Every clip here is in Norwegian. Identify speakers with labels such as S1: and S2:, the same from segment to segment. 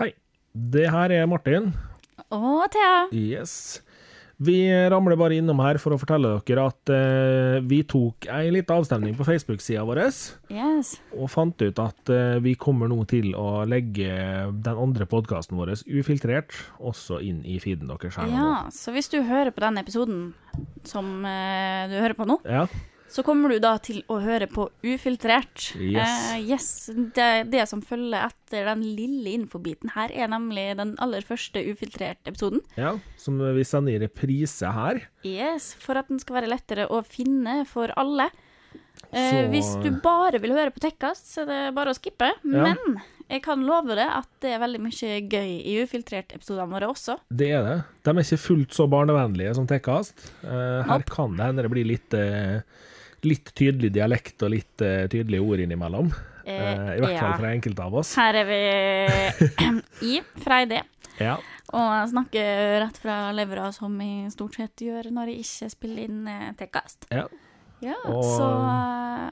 S1: Hei. Det her er Martin.
S2: Og Thea.
S1: Yes. Vi ramler bare innom her for å fortelle dere at eh, vi tok ei lita avstemning på Facebook-sida vår
S2: Yes.
S1: og fant ut at eh, vi kommer nå til å legge den andre podkasten vår, Ufiltrert, også inn i feeden deres her nå.
S2: Ja, så hvis du hører på den episoden som eh, du hører på nå,
S1: Ja.
S2: så kommer du da til å høre på Ufiltrert.
S1: Yes.
S2: Eh, yes. Det, det som følger etter den lille infobiten her, er nemlig den aller første Ufiltrert-episoden.
S1: ja. Som vi sender i reprise her.
S2: Yes, for at den skal være lettere å finne for alle. Eh,
S1: Så-
S2: hvis du bare vil høre på Tekkast, så er det bare å skippe. Men jeg kan love deg at det er veldig mye gøy i Ufiltrert-episodene våre også.
S1: Det er det. De er ikke fullt så barnevennlige som Tekkast. Eh, her kan det hende det blir litt, eh, litt tydelig dialekt og litt eh, tydelige ord innimellom. Eh, I hvert fall
S2: ja.
S1: fra enkelte av oss.
S2: Her er vi i fra idé.
S1: Ja.
S2: Og jeg snakker rett fra levra, som jeg stort sett gjør når jeg ikke spiller inn eh, tekkast.
S1: ja.
S2: Ja,
S1: Og-
S2: så eh,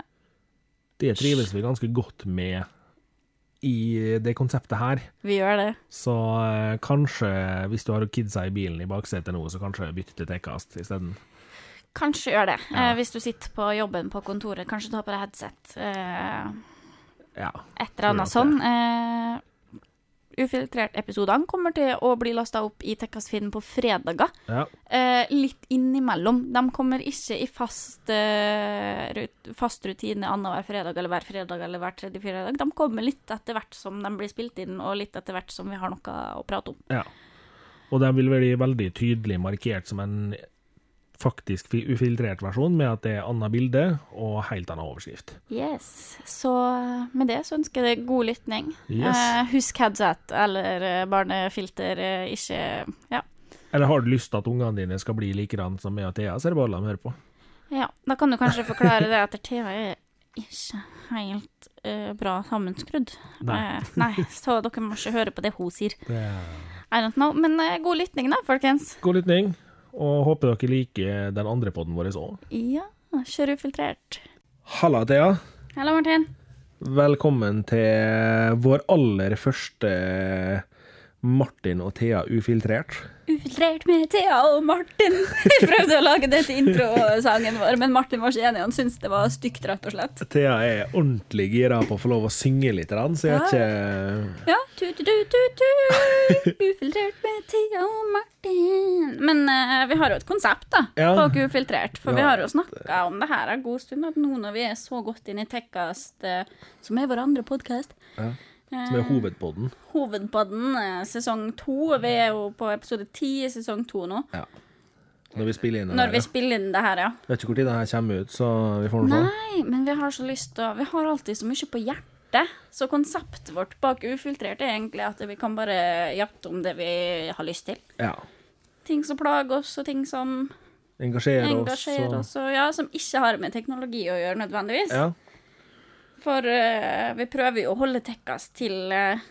S1: Det trives vi ganske godt med i det konseptet her.
S2: vi gjør det.
S1: Så eh, kanskje, hvis du har kidsa i bilen i baksetet nå, så kanskje bytte til Tekkast isteden.
S2: Kanskje gjør det.
S1: Ja.
S2: Eh, hvis du sitter på jobben på kontoret, kanskje ta på deg headset. Eh,
S1: Ja.
S2: et eller annet
S1: Tror
S2: sånn. Eh, Ufiltrert-episodene kommer til å bli lasta opp i Tekkast-feeden på fredager.
S1: ja.
S2: Eh, litt innimellom. De kommer ikke i fast, eh, rut fast rutine annenhver fredag eller hver fredag eller hver tredje fredag. De kommer litt etter hvert som de blir spilt inn, og litt etter hvert som vi har noe å prate om.
S1: ja. Og den vil bli veldig tydelig markert som en faktisk fi- ufiltrert versjon, med at det er annet bilde og helt annen overskrift.
S2: Yes. Så eh, med det så ønsker jeg deg god lytning.
S1: Yes.
S2: Eh, husk headset eller eh, barnefilter, eh, ikke Ja.
S1: Eller har du lyst til at ungene dine skal bli likedan som meg og Thea, så er det bare å la dem høre på.
S2: Ja, da kan du kanskje forklare det at TV er ikke helt eh, bra sammenskrudd.
S1: Nei.
S2: Eh, nei, så dere må ikke høre på det hun sier.
S1: Det er
S2: I don't know, men eh, god lytning da, folkens.
S1: God lytning, og håper dere liker den andre podden vår òg.
S2: Ja, kjør ufiltrert.
S1: Halla, Thea.
S2: Hallo, Martin.
S1: Velkommen til vår aller første Martin og Thea ufiltrert.
S2: Ufiltrert med Thea og Martin. Jeg prøvde å lage det til introsangen vår, men Martin var ikke enig. Han syntes det var stygt, rett og slett.
S1: Thea er ordentlig gira på å få lov å synge litt, grann, så jeg er ikke
S2: Ja, tu-tu-tu-tu-tu. Ufiltrert med Thea og Martin. Men eh, vi har jo et konsept, da.
S1: Ja.
S2: Bak ufiltrert. For vi
S1: Ja.
S2: har jo snakka om det her en god stund. At nå når vi er så godt inne i Tekkast, eh, som er vår andre podkast,
S1: ja, Som er hovedpodden.
S2: Hovedpodden eh, sesong to Vi er jo på episode ti i sesong to nå.
S1: Ja. Når vi spiller inn den
S2: Når
S1: her.
S2: vi spiller inn det her, ja.
S1: Vet ikke når den her kommer ut, så vi får nå se.
S2: Nei, men vi har så lyst til å Vi har alltid så mye på hjertet. Så konseptet vårt bak ufiltrert er egentlig at vi kan bare jatte om det vi har lyst til.
S1: Ja.
S2: ting som plager oss, og ting som
S1: Engasjere oss.
S2: engasjerer oss, og ja, som ikke har med teknologi å gjøre nødvendigvis.
S1: Ja.
S2: For eh, vi prøver jo å holde Tekkast til uh,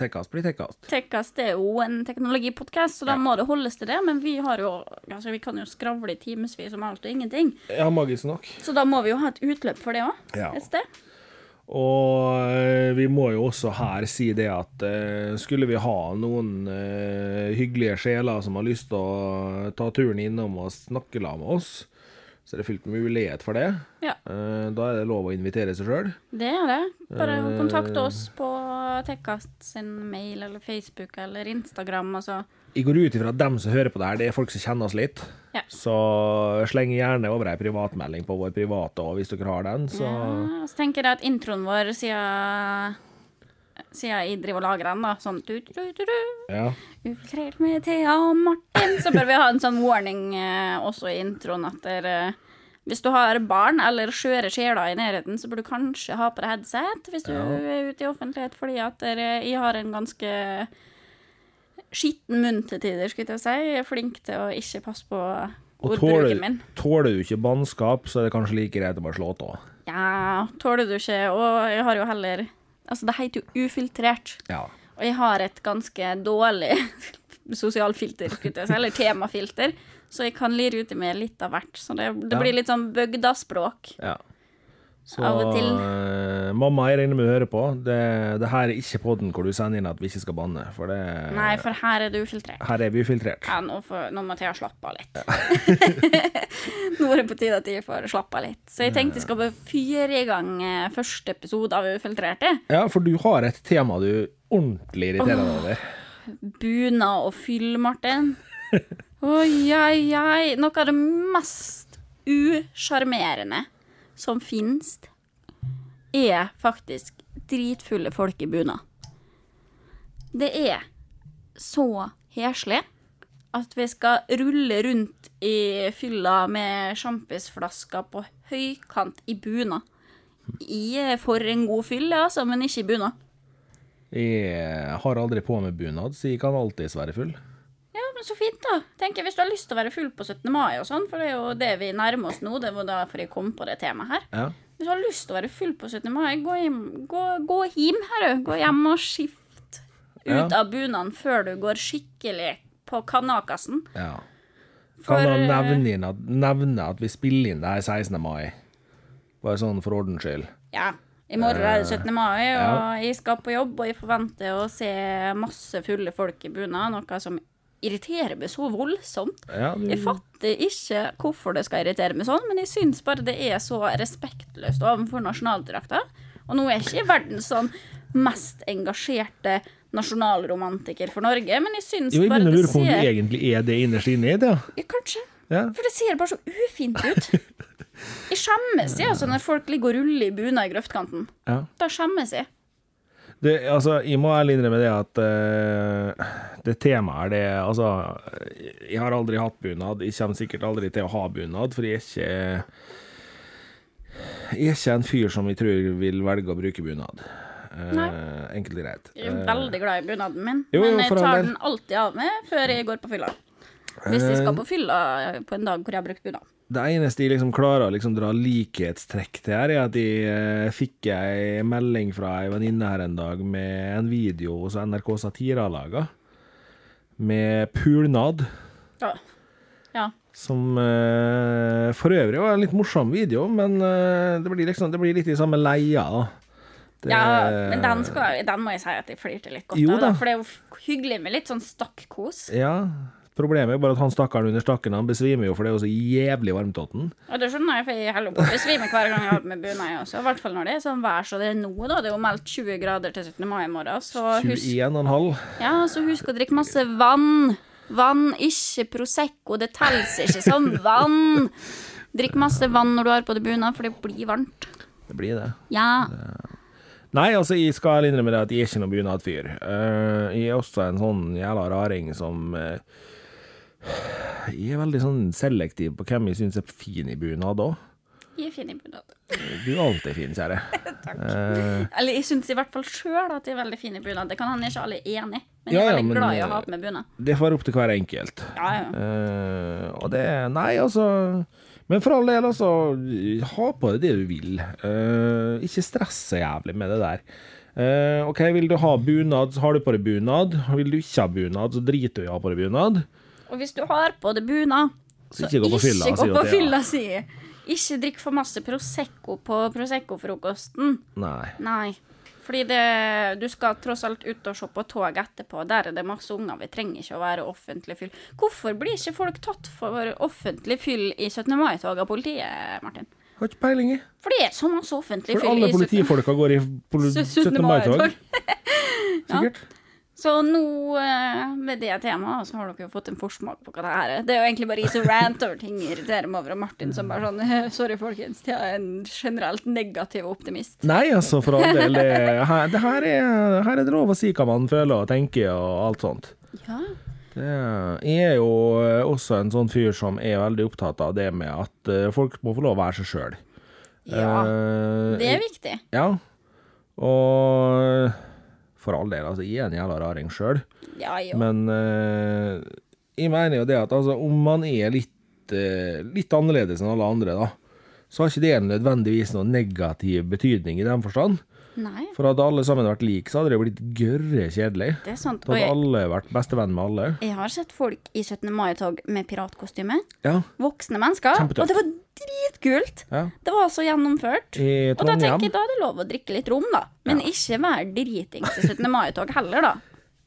S1: Tekkast blir tekkast.
S2: Tekkast er jo en teknologipodkast, så da må det holdes til det, men vi har jo Altså, vi kan jo skravle i timevis om alt og ingenting,
S1: Ja, magisk nok.
S2: så da må vi jo ha et utløp for det òg,
S1: Ja.
S2: et sted.
S1: Og eh, vi må jo også her si det at eh, skulle vi ha noen eh, hyggelige sjeler som har lyst til å ta turen innom og snakke la med oss, så er det fullt mulighet for det.
S2: Ja,
S1: Eh, Da er det lov å invitere seg sjøl.
S2: det er det. Bare
S1: Eh.
S2: kontakte oss på Tekkast sin mail eller Facebook eller Instagram, altså.
S1: Jeg går ut ifra at dem som hører på det her, det er folk som kjenner oss litt.
S2: Ja.
S1: Så eh, sleng gjerne over ei privatmelding på vår private òg, hvis dere har den. Så
S2: Ja, og så tenker jeg at introen vår, siden, siden jeg driver og lager den, da, sånn du, du, du, du,
S1: ja.
S2: Ufiltrert med Thea og Martin, så bør vi ha en sånn warning eh, også i introen at der, eh, hvis du har barn eller skjøre sjeler i nærheten, så bør du kanskje ha på deg headset hvis du er ute i offentlighet, fordi at der, eh, jeg har en ganske skitten munn til tider, skulle jeg til å si. Jeg er flink til å ikke passe på
S1: Og
S2: ordbruken
S1: tåler,
S2: min.
S1: tåler du ikke bannskap, så er det kanskje like greit å bare slå av.
S2: Ja, tåler du ikke, og jeg har jo heller Altså, det heter jo ufiltrert,
S1: Ja.
S2: og jeg har et ganske dårlig sosialfilter, skulle jeg si, eller temafilter, så jeg kan lire ut med litt av hvert. Så det, det
S1: Ja.
S2: blir litt sånn bygdaspråk.
S1: ja. Så
S2: Av og til.
S1: eh, mamma, jeg regner med du hører på. Det, det her er ikke podden hvor du sender inn at vi ikke skal banne, for det
S2: Nei, for her er det ufiltrert.
S1: Her er vi filtrert.
S2: Ja, nå, får, nå må Thea slappe av litt. nå er det på tide at jeg får slappe av litt. Så jeg tenkte jeg skal bare fyre i gang eh, første episode av Ufiltrerte.
S1: Ja, for du har et tema du ordentlig irriterer deg over.
S2: Bunad og fyll, Martin. Oi, oi, oi. Noe av det mest usjarmerende som finnes, er faktisk dritfulle folk i bunad. Det er så heslig at vi skal rulle rundt i fylla med sjampisflasker på høykant i bunad. Jeg er for en god fyll, ja, altså, men ikke i bunad.
S1: Jeg har aldri på meg bunad, så jeg kan alltids være full.
S2: Ja, men så fint, da. Tenker jeg, Hvis du har lyst til å være full på 17. mai og sånn, for det er jo det vi nærmer oss nå, det var derfor jeg kom på det temaet her.
S1: Ja.
S2: Hvis du har lyst til å være full på 17. mai, gå hjem, gå, gå hjem her, du. Gå hjem og skift ut
S1: Ja.
S2: av bunaden før du går skikkelig på kanakasen.
S1: ja.
S2: For,
S1: Kan da
S2: eh,
S1: nevne, inn at, nevne at vi spiller inn det her 16. mai? Bare sånn for ordens skyld.
S2: Ja. I morgen er det 17. mai, og
S1: Eh, ja.
S2: jeg skal på jobb, og jeg forventer å se masse fulle folk i bunad, noe som irriterer meg så voldsomt.
S1: Ja, du,
S2: Jeg fatter ikke hvorfor det skal irritere meg sånn, men jeg syns bare det er så respektløst overfor nasjonaldrakta. Og nå er ikke jeg verdens sånn mest engasjerte nasjonalromantiker for Norge, men jeg syns
S1: jo, jeg
S2: bare
S1: begynner å
S2: det
S1: lure på om du
S2: ser
S1: egentlig er det innerst inne i det. ja.
S2: ja, Kanskje.
S1: Ja.
S2: For det ser bare så ufint ut. Jeg skjemmes jeg, altså, når folk ligger og ruller i bunad i grøftkanten.
S1: Ja.
S2: Da skjemmes jeg.
S1: Det, altså, jeg må ærlig innrømme det at eh, det temaet her, det Altså, jeg har aldri hatt bunad. Jeg kommer sikkert aldri til å ha bunad, for jeg er ikke Jeg er ikke en fyr som jeg tror vil velge å bruke bunad. Eh,
S2: Nei.
S1: enkelt og greit.
S2: Jeg er veldig glad i bunaden min,
S1: Eh. jo, jo,
S2: men jeg
S1: for all
S2: tar
S1: del.
S2: den alltid av meg før jeg går på fylla. Hvis jeg
S1: Eh.
S2: skal på fylla på en dag hvor jeg har brukt bunad.
S1: Det eneste jeg liksom klarer å liksom dra likhetstrekk til her, er at jeg eh, fikk ei melding fra ei venninne her en dag med en video som NRK Satira laga, med pulnad.
S2: Ja. ja.
S1: Som eh, for øvrig var en litt morsom video, men eh, det, blir liksom, det blir litt i samme leia, da. Det-
S2: Ja, men den, skal, den må jeg si at jeg flirte litt godt
S1: Jo
S2: av. Da.
S1: da.
S2: For det er jo f- hyggelig med litt sånn stakkos.
S1: Ja. Problemet er jo bare at han stakkaren under stakken han besvimer jo, for det er jo så jævlig varmt åt den.
S2: Og det skjønner jeg, for jeg holder på å besvime hver gang jeg har med bunad. jeg også. I hvert fall når det er sånn vær som det er nå, da. Det er jo meldt 20 grader til 17. mai i morgen. Så husk,
S1: 21,5.
S2: ja, så husk å drikke masse vann. Vann, ikke Prosecco. Det telles ikke som vann. Drikk masse vann når du har på deg bunad, for det blir varmt.
S1: Det blir det.
S2: Ja.
S1: Nei, altså, jeg skal innrømme det at jeg er ikke noen bunadfyr. Eh, jeg er også en sånn jævla raring som eh, Jeg er veldig sånn selektiv på hvem jeg syns er fin i bunad òg.
S2: Jeg er fin i bunad.
S1: Du er alltid fin, kjære.
S2: Eller jeg syns i hvert fall sjøl at jeg er veldig fin i bunad. Det kan hende ikke alle er enig, men jeg
S1: Ja,
S2: er
S1: ja,
S2: veldig
S1: men,
S2: glad i å
S1: eh,
S2: ha på meg bunad.
S1: Det får være opp til hver enkelt.
S2: Ja, ja.
S1: Eh, og det Nei, altså Men for all del, altså. Ha på deg det du vil. Eh, ikke stress så jævlig med det der. Eh, OK, vil du ha bunad, så har du på deg bunad. Vil du ikke ha bunad, så driter du i å ha på deg bunad.
S2: Og hvis du har på deg bunad,
S1: Så ikke gå på fylla,
S2: ikke gå
S1: sier
S2: på
S1: Thea.
S2: fylla, sier jeg. Ikke drikk for masse Prosecco på Prosecco-frokosten.
S1: Nei.
S2: Nei. Fordi det, du skal tross alt ut og se på tog etterpå. Der er det masse unger. Vi trenger ikke å være offentlig fyll. Hvorfor blir ikke folk tatt for offentlig fyll i 17. mai-tog av politiet, Martin?
S1: Har ikke peiling, jeg.
S2: For det er så masse offentlig
S1: For
S2: fyll
S1: alle
S2: i 17.
S1: politifolka går i poli 17. mai-tog. Sikkert.
S2: Så nå, eh, med det temaet, så har dere jo fått en forsmak på hva det her er. Det er jo egentlig bare jeg som rant over ting jeg irriterer meg over, og Martin som bare sånn eh, Sorry, folkens, jeg er en generelt negativ optimist.
S1: Nei, altså, for all del. Det her, det her, er, her er det lov å si hva man føler og tenker og alt sånt.
S2: Ja.
S1: Det er- Jeg er jo eh, også en sånn fyr som er veldig opptatt av det med at eh, folk må få lov å være seg sjøl. Eh,
S2: ja. Det er viktig.
S1: Ja. Og for all del, altså, jeg er en jævla raring sjøl.
S2: Ja, jo.
S1: Men eh, jeg mener jo det at altså, om man er litt, eh, litt annerledes enn alle andre, da, så har ikke det nødvendigvis noen negativ betydning i den forstand.
S2: Nei,
S1: For hadde alle sammen vært like, så hadde det blitt gørre kjedelig.
S2: det er sant.
S1: Da
S2: Og
S1: hadde
S2: jeg,
S1: alle vært bestevenn med alle.
S2: jeg har sett folk i 17. mai-tog med piratkostyme.
S1: Ja.
S2: Voksne mennesker.
S1: Kjempetøft.
S2: Og det var dritkult.
S1: Ja.
S2: Det var så gjennomført.
S1: I
S2: Og da
S1: Trondheim,
S2: tenker jeg da er det lov å drikke litt rom, da. Men ikke være dritings i 17. mai-tog heller, da.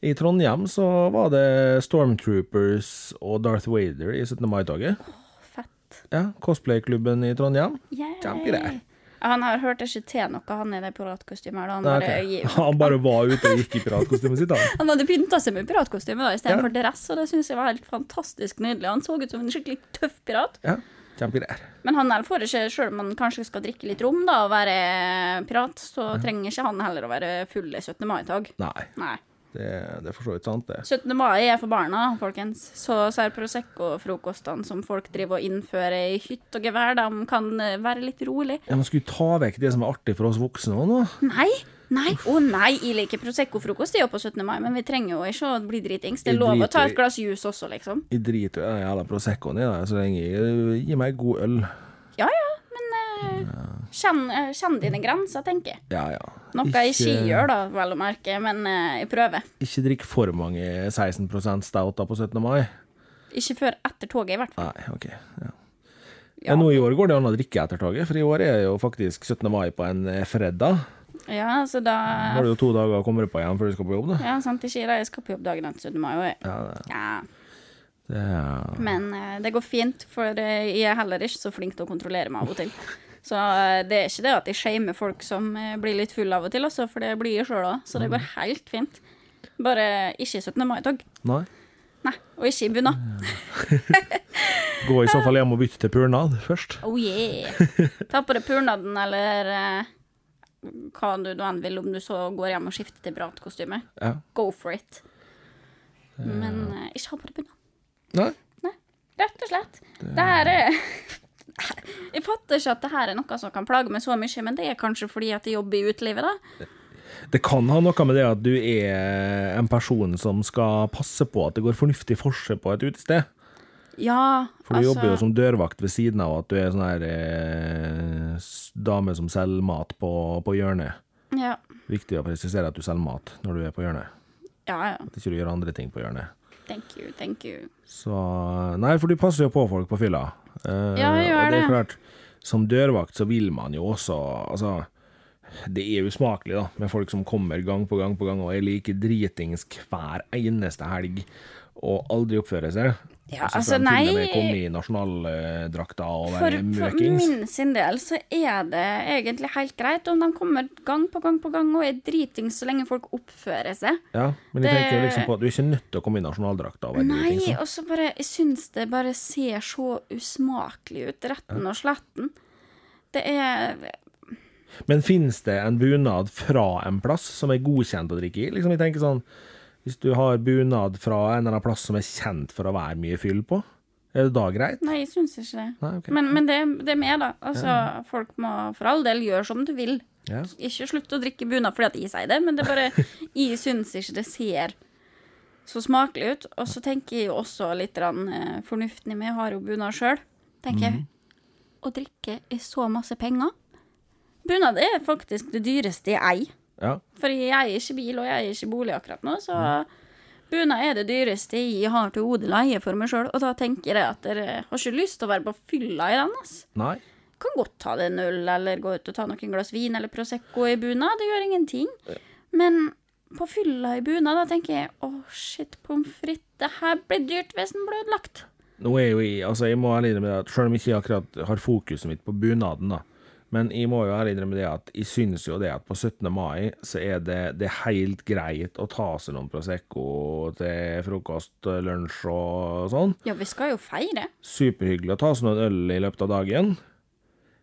S1: I Trondheim så var det Stormtroopers og Darth Vader i 17. mai-toget.
S2: Fett.
S1: Ja, cosplayklubben i Trondheim.
S2: Yay.
S1: Kjempegreier.
S2: Han har hørt ikke til noe, han i det piratkostymet. her, da. Han,
S1: Nei,
S2: bare,
S1: ok.
S2: gi-
S1: Han bare var ute og gikk i piratkostymet sitt, han.
S2: han hadde pynta seg med piratkostyme da,
S1: Ja.
S2: istedenfor for dress, og det syns jeg var helt fantastisk nydelig. Han så ut som en skikkelig tøff pirat.
S1: Ja, kjempegreier.
S2: Men han her får ikke, sjøl om han kanskje skal drikke litt rom da, og være pirat, så trenger ikke han heller å være full i 17. mai-tog.
S1: Nei,
S2: Nei.
S1: det, det er for så vidt sant, det.
S2: 17. mai er for barna, folkens. Så ser Prosecco-frokostene som folk driver og innfører i hytt og gevær, de kan eh, være litt rolig.
S1: Ja, Man skulle ta vekk det som er artig for oss voksne òg, nå.
S2: Nei, nei, å nei, jeg liker Prosecco-frokost det er jo på 17. mai, men vi trenger jo ikke å bli dritings. Det
S1: Jeg
S2: er lov å ta
S1: driter i-
S2: et glass juice også, liksom.
S1: Jeg driter jo i den jævla Proseccoen i det, så lenge jeg gir meg god øl.
S2: Ja ja, men eh, kjenn, eh, kjenn dine grenser, tenker jeg.
S1: Ja, ja.
S2: Noe jeg ikke gjør, da, vel å merke, men eh, jeg prøver.
S1: Ikke drikk for mange 16 stouter på 17. mai.
S2: Ikke før etter toget, i hvert fall.
S1: Nei, OK. Ja.
S2: Ja.
S1: Nå i år går det an å drikke etter toget, for i år er jo faktisk 17. mai på en eh, fredag.
S2: Ja, så da
S1: Nå har du jo to dager å komme deg på igjen før du skal på jobb, da.
S2: Ja, sant, ikke jeg skal på jobb dagen etter 17. mai, og jeg
S1: Ja, det-
S2: ja.
S1: det er
S2: Men eh, det går fint, for eh, jeg er heller ikke så flink til å kontrollere meg av og til. Så eh, det er ikke det at jeg shamer folk som eh, blir litt fulle av og til, altså, for det blir jeg sjøl òg. Så det går helt fint. Bare ikke i 17. mai-tog.
S1: Nei.
S2: Nei, og ikke i bunad.
S1: Gå i så fall hjem og bytte til purnad først.
S2: Oh yeah! Ta på deg purnaden eller eh, hva du nå enn vil, om du så går hjem og skifter til piratkostyme.
S1: Ja.
S2: Go for it. Men eh, ikke ha på deg bunad.
S1: Nei.
S2: Rett og slett. Det her er Jeg fatter ikke at det her er noe som kan plage meg så mye, men det er kanskje fordi at jeg jobber i utelivet, da.
S1: Det kan ha noe med det at du er en person som skal passe på at det går fornuftig for seg på et utested.
S2: Ja,
S1: For du
S2: Altså-
S1: jobber jo som dørvakt ved siden av at du er sånn her eh, s- dame som selger mat på, på hjørnet.
S2: ja.
S1: Viktig å presisere at du selger mat når du er på hjørnet.
S2: ja, ja.
S1: At ikke du gjør andre ting på hjørnet.
S2: Thank you, thank you.
S1: Så Nei, for du passer jo på folk på fylla. Eh,
S2: Ja, jeg gjør
S1: og det er
S2: det.
S1: klart, som dørvakt så vil man jo også Altså, det er usmakelig, da, med folk som kommer gang på gang på gang og er like dritings hver eneste helg og aldri oppfører seg.
S2: Ja,
S1: Og så
S2: altså,
S1: skal de til og med
S2: nei.
S1: komme i nasjonaldrakta og
S2: For,
S1: være
S2: for
S1: møkings.
S2: min sin del så er det egentlig helt greit om de kommer gang på gang på gang og er dritings så lenge folk oppfører seg.
S1: Ja, men jeg
S2: Det-
S1: tenker liksom på at du er ikke nødt til å komme i nasjonaldrakta og være
S2: Nei,
S1: dritings. da.
S2: og så bare Jeg syns det bare ser så usmakelig ut, retten og sletten. Det er
S1: Men finnes det en bunad fra en plass som er godkjent å drikke i? Liksom, jeg tenker sånn, Hvis du har bunad fra en eller annen plass som er kjent for å være mye fyll på, er det da greit?
S2: Nei, jeg syns ikke det.
S1: Nei, ok.
S2: Men, men det, det er med, da. Altså, Folk må for all del gjøre som du vil.
S1: Ja.
S2: Ikke slutt å drikke bunad fordi at jeg sier det, men det er bare jeg syns ikke det ser så smakelig ut. Og så tenker jeg jo også litt grann, eh, fornuften i meg, jeg har jo bunad sjøl, tenker jeg.
S1: Mhm.
S2: Å drikke i så masse penger Bunad er faktisk det dyreste jeg eier.
S1: Ja.
S2: For jeg eier ikke bil, og jeg eier ikke bolig akkurat nå, så bunad er det dyreste jeg har til odel og eie for meg sjøl. Og da tenker jeg at dere har ikke lyst til å være på fylla i den, ass.
S1: Nei.
S2: Kan godt ta det en øl, eller gå ut og ta noen glass vin eller Prosecco i bunad, det gjør ingenting. Men på fylla i bunad, da tenker jeg å shit, pommes frites, det her blir dyrt hvis den blir ødelagt.
S1: Nå er jo jeg, altså jeg må ærlig innrømme det at selv om jeg ikke akkurat har fokuset mitt på bunaden, da, men jeg må jo ærlig innrømme det at jeg synes jo det at på 17. mai så er det, det er helt greit å ta seg noen Prosecco til frokost, lunsj og sånn.
S2: Ja, vi skal jo feire.
S1: superhyggelig å ta seg noen øl i løpet av dagen.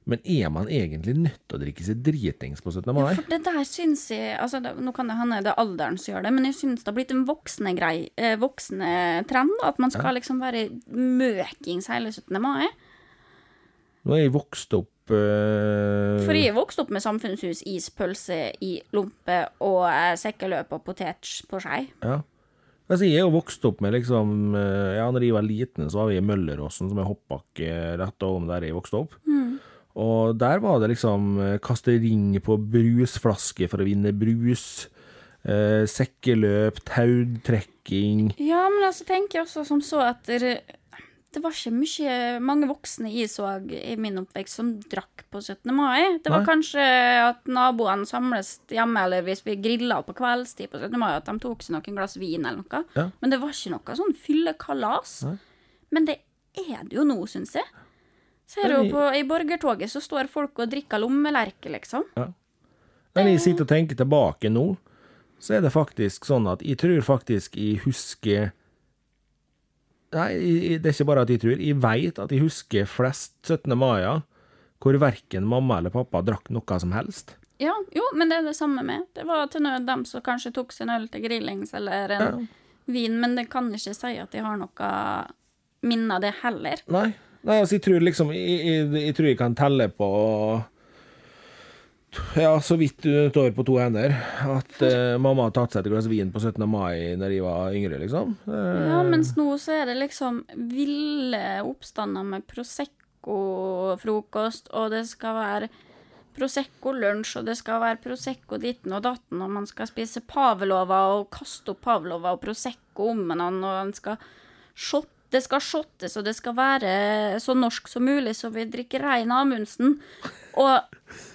S1: Men er man egentlig nødt til å drikke seg dritings på 17. mai?
S2: For det der syns jeg altså det, Nå kan det hende det er alderen som gjør det, men jeg syns det har blitt en voksne, grei, eh, voksne trend. da, At man skal liksom være møkings hele 17. mai.
S1: Nå er jeg vokst opp eh,
S2: For jeg er vokst opp med samfunnshus, ispølse i lompe og eh, sekkeløp og potet på skei.
S1: ja. altså, Jeg er jo vokst opp med liksom eh, Ja, når jeg var liten, så var vi i Mølleråsen, som er hoppbakke rett over der jeg vokste opp. Og der var det liksom eh, kaste ring på brusflaske for å vinne brus. eh, sekkeløp, tautrekking
S2: Ja, men altså tenker jeg også som så at dere- det var ikke mye, mange voksne jeg så i min oppvekst som drakk på 17. mai. Det var
S1: Nei.
S2: kanskje at naboene samles hjemme, eller hvis vi grilla på kveldstid på 17. mai, at de tok seg noen glass vin eller noe.
S1: Ja.
S2: Men det var ikke noe sånn fyllekalas.
S1: Nei.
S2: Men det er det jo nå, syns jeg. Ser
S1: Men
S2: du
S1: i-
S2: på, I borgertoget så står folk og drikker lommelerke, liksom.
S1: Når jeg sitter og tenker tilbake nå, så er det faktisk sånn at jeg tror faktisk jeg husker Nei, jeg- jeg- det er ikke bare at jeg tror. Jeg veit at jeg husker flest 17. mai-er hvor verken mamma eller pappa drakk noe som helst.
S2: Ja, jo, men det er det samme med. Det var til nød dem som kanskje tok sin øl til grillings eller en vin, men det kan ikke si at de har noe minne av det heller.
S1: Nei. Nei, altså, jeg tror liksom Jeg, jeg, jeg tror jeg kan telle på Ja, så vidt utover på to hender at eh, mamma har tatt seg et glass vin på 17. mai når jeg var yngre, liksom. Eh,
S2: Ja, mens nå så er det liksom ville oppstander med Prosecco-frokost, og det skal være Prosecco-lunsj, og det skal være Prosecco-ditten og datten, og man skal spise Pavlova og kaste opp Pavlova og Prosecco om hverandre, og man skal shot, det skal shottes, og det skal være så norsk som mulig, så vi drikker rein Amundsen, og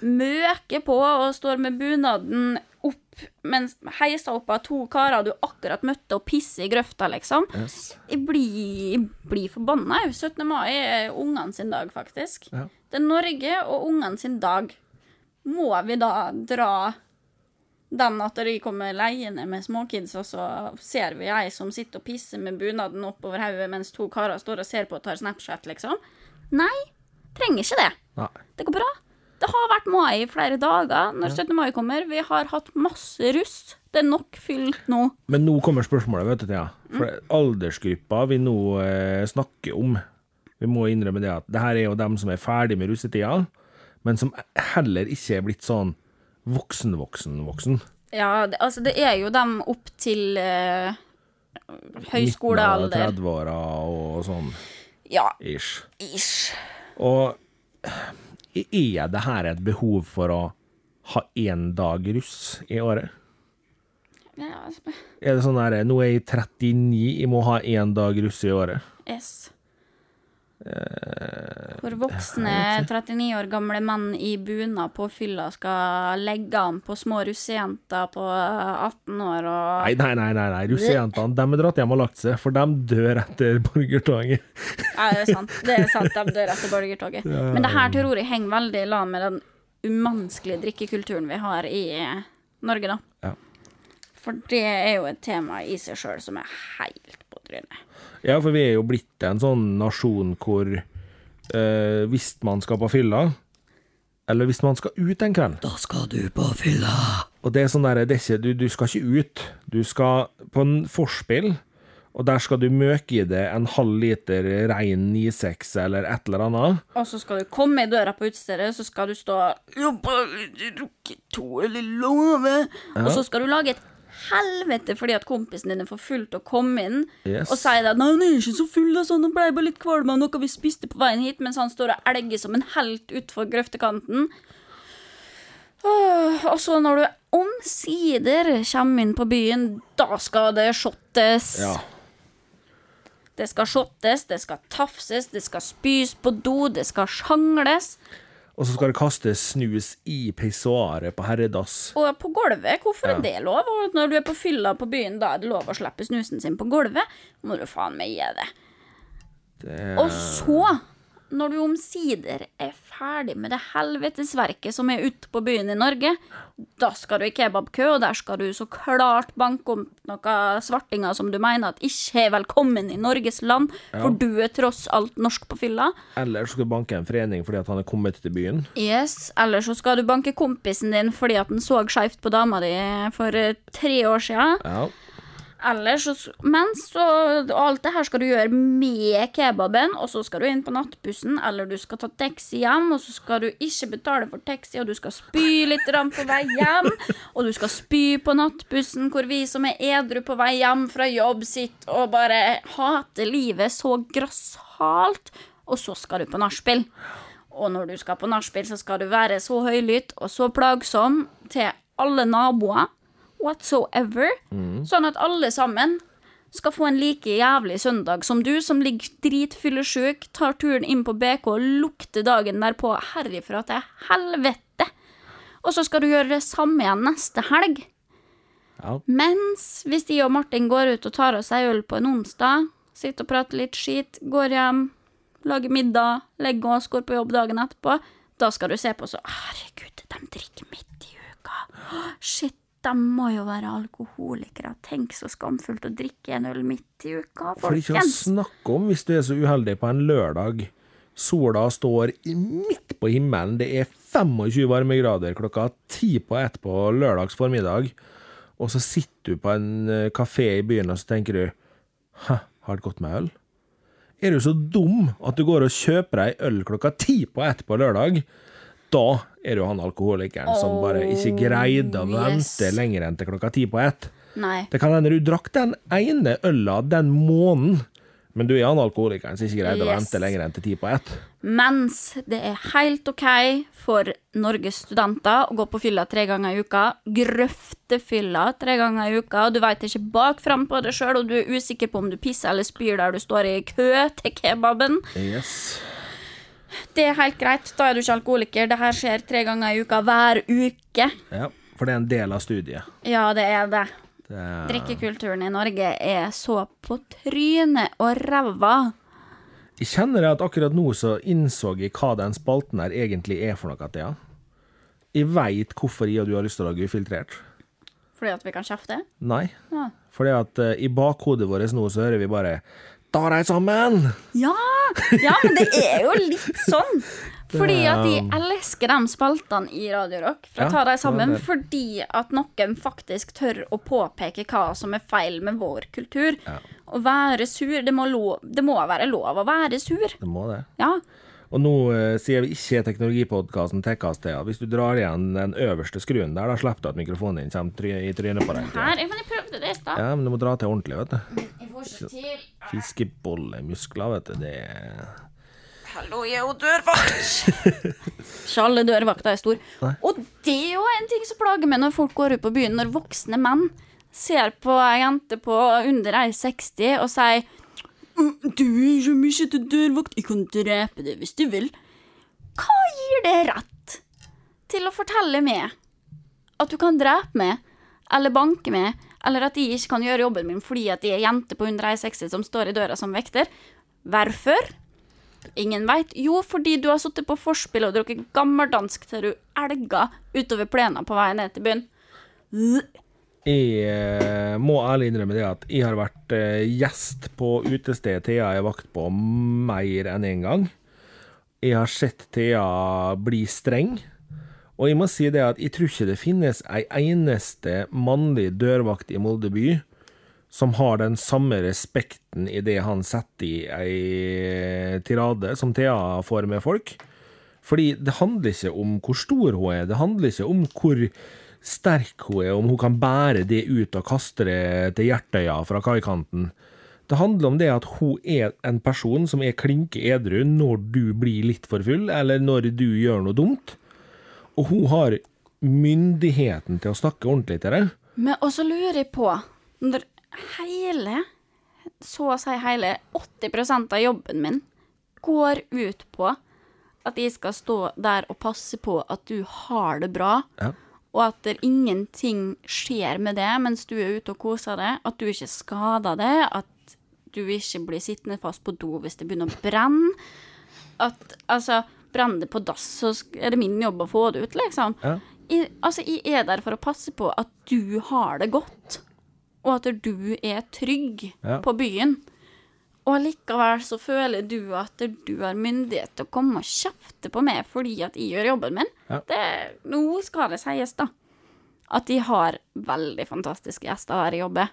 S2: møker på og står med bunaden opp, mens heiser opp av to karer du akkurat møtte, og pisser i grøfta, liksom.
S1: yes.
S2: Jeg blir, jeg blir forbanna, jeg. 17. mai er ungene sin dag, faktisk.
S1: Ja.
S2: Det er Norge og ungene sin dag. Må vi da dra den at de kommer leiende med småkids, og så ser vi ei som sitter og pisser med bunaden oppover hodet mens to karer står og ser på og tar Snapchat, liksom? Nei, trenger ikke det.
S1: Nei.
S2: Det går bra. Det har vært mai i flere dager når 17. mai kommer. Vi har hatt masse russ. Det er nok fyll nå.
S1: Men nå kommer spørsmålet, vet du, Thea. For det- aldersgruppa vi nå eh, snakker om Vi må innrømme det at det her er jo dem som er ferdig med russetida, men som heller ikke er blitt sånn voksen-voksen-voksen.
S2: Ja, det, altså det er jo dem opp til eh, høyskolealder.
S1: 30-åra og sånn
S2: Ja,
S1: ish.
S2: ish.
S1: Og er det her et behov for å ha én dag russ i året?
S2: Ja, altså,
S1: Er det sånn her Nå er jeg 39, jeg må ha én dag russ i året.
S2: yes. Hvor voksne 39 år gamle menn i bunad på fylla skal legge an på små russejenter på 18 år og
S1: Nei, nei, nei, nei, nei. russejentene de er dratt hjem og lagt seg, for de dør etter borgertoget.
S2: Ja, det er sant. Det er sant, De dør etter borgertoget. Men det her tror jeg henger veldig i lag med den umenneskelige drikkekulturen vi har i eh, Norge, da.
S1: Ja.
S2: For det er jo et tema i seg sjøl som er helt på trynet.
S1: Ja, for vi er jo blitt en sånn nasjon hvor eh, hvis man skal på fylla, eller hvis man skal ut en kveld
S3: Da skal du på fylla.
S1: Og det er sånn der, det er ikke, du, du skal ikke ut. Du skal på en forspill, og der skal du møke i deg en halv liter rein 96 eller et eller annet.
S2: Og så skal du komme i døra på utestedet, så skal du stå Og så skal du lage et helvete fordi at kompisen din er for full til å komme inn
S1: Yes.
S2: og si at 'Nei, han er ikke så full, altså. Han ble bare litt kvalm av noe vi spiste på veien hit', mens han står og elger som en helt utfor grøftekanten. Åh, Og så når du omsider kommer inn på byen, da skal det shottes.
S1: Ja.
S2: Det skal shottes, det skal tafses, det skal spys på do, det skal sjangles.
S1: Og så skal det kastes snus i pissoaret på herredass.
S2: Og på gulvet, hvorfor er det lov? Og når du er på fylla på byen, da er det lov å slippe snusen sin på gulvet. Må du faen meg gi det. Og så, når du omsider er ferdig med det helvetesverket som er ute på byen i Norge, da skal du i kebabkø, og der skal du så klart banke om noen svartinger som du mener at ikke er velkommen i Norges land, for du er tross alt norsk på fylla.
S1: Eller så skal du banke en forening fordi at han er kommet til byen.
S2: Yes, eller så skal du banke kompisen din fordi at den så skeivt på dama di for eh, tre år siden.
S1: Ja.
S2: Eller så Men så og Alt det her skal du gjøre med kebaben, og så skal du inn på nattbussen, eller du skal ta taxi hjem, og så skal du ikke betale for taxi, og du skal spy litt grann på vei hjem, og du skal spy på nattbussen, hvor vi som er edru på vei hjem fra jobb, sitter og bare hater livet så grassat, og så skal du på nachspiel. Og når du skal på nachspiel, så skal du være så høylytt og så plagsom til alle naboer whatsoever, sånn at alle sammen skal få en like jævlig søndag som du, som ligger dritfyllesjuk, tar turen inn på BK og lukter dagen derpå herifra til helvete. Og så skal du gjøre det samme igjen neste helg.
S1: Ja.
S2: Mens hvis de og Martin går ut og tar av seg øl på en onsdag, sitter og prater litt skit, går hjem, lager middag, legger oss, går på jobb dagen etterpå, da skal du se på så Herregud, de drikker midt i uka. Shit, de må jo være alkoholikere. Tenk så skamfullt å drikke en øl midt i uka,
S1: For ikke å
S2: folkens.
S1: snakke om hvis du er så uheldig på en lørdag. Sola står i- midt på himmelen, det er 25 varmegrader klokka ti på ett på lørdags formiddag, og så sitter du på en eh, kafé i byen og så tenker du Hæ, har det gått med øl? Er du så dum at du går og kjøper deg øl klokka ti på ett på lørdag? Da er du han alkoholikeren som bare ikke greide å
S2: Oh, yes.
S1: vente lenger enn til klokka ti på ett.
S2: Nei.
S1: Det kan hende du drakk den ene øla den måneden, men du er han alkoholikeren som ikke greide å
S2: Yes.
S1: vente lenger enn til ti på ett.
S2: Mens det er helt OK for Norges studenter å gå på fylla tre ganger i uka, grøftefylla tre ganger i uka, og du veit ikke bak fram på det sjøl, og du er usikker på om du pisser eller spyr der du står i kø til kebaben.
S1: Yes.
S2: Det er helt greit, da er du ikke alkoholiker. Det her skjer tre ganger i uka hver uke.
S1: Ja, for det er en del av studiet.
S2: Ja, det er det.
S1: Det er,
S2: Drikkekulturen i Norge er så på trynet og ræva.
S1: jeg kjenner at akkurat nå så innså jeg hva den spalten her egentlig er for noe, Thea. Jeg veit hvorfor jeg og du har lyst til å lage ufiltrert.
S2: Fordi at vi kan kjefte?
S1: Nei.
S2: Ja.
S1: Fordi at eh, i bakhodet vårt nå så hører vi bare Ta deg sammen!
S2: Ja, ja, men det er jo litt sånn. Fordi at de elsker de spaltene i Radio Rock. For
S1: Ja,
S2: å ta dem
S1: det
S2: sammen.
S1: er det.
S2: Fordi at noen faktisk tør å påpeke hva som er feil med vår kultur. Å være sur det må, lov, det må være lov å være sur.
S1: Det må det.
S2: Ja.
S1: Og nå eh, sier vi ikke teknologipodkasten Tekkast til at hvis du drar igjen den øverste skruen der, da slipper du at mikrofonen din kommer try i trynet på deg.
S2: Her, ja, men jeg prøvde det i stad.
S1: Ja, men du må dra til ordentlig, vet du.
S2: Jeg får ikke til.
S1: Fiskebollemuskler, vet du, det er
S3: Hallo, jeg er jo dørvakt.
S2: Ikke alle dørvakter er stor. Og det er jo en ting som plager meg når folk går ut på byen, når voksne menn ser på ei jente på under ei 60 og sier «Mm, Du er så mye til dørvakt, jeg kan drepe deg hvis du vil. Hva gir det rett til å fortelle meg at du kan drepe meg, eller banke meg, eller at jeg ikke kan gjøre jobben min fordi at jeg er jente på 160 som står i døra som vekter? Hvorfor? Ingen veit. Jo, fordi du har sittet på forspill og drukket gammeldansk til du elga utover plena på vei ned til byen.
S1: Jeg eh, må ærlig innrømme det at jeg har vært eh, gjest på utested Thea er vakt på mer enn én en gang. Jeg har sett Thea bli streng. Og jeg må si det at jeg tror ikke det finnes ei eneste mannlig dørvakt i Molde by som har den samme respekten i det han setter i ei tirade som Thea får med folk. Fordi det handler ikke om hvor stor hun er, det handler ikke om hvor sterk hun er, om hun kan bære det ut og kaste det til Hjertøya fra kaikanten. Det handler om det at hun er en person som er klinke edru når du blir litt for full, eller når du gjør noe dumt. Og hun har myndigheten til å snakke ordentlig til deg.
S2: Men og så lurer jeg på Når hele, så å si hele, 80 av jobben min går ut på at jeg skal stå der og passe på at du har det bra,
S1: Ja.
S2: og at det ingenting skjer med det mens du er ute og koser deg, at du ikke skader det, at du ikke blir sittende fast på do hvis det begynner å brenne. At altså, brenner det på dass, så sk- er det min jobb å få det ut, liksom.
S1: Ja.
S2: Jeg, altså, jeg er der for å passe på at du har det godt, og at du er trygg
S1: Ja.
S2: på byen. Og likevel så føler du at du har myndighet til å komme og kjefte på meg fordi at jeg gjør jobben min.
S1: Ja.
S2: Det, nå skal det sies, da. At de har veldig fantastiske gjester her i jobben.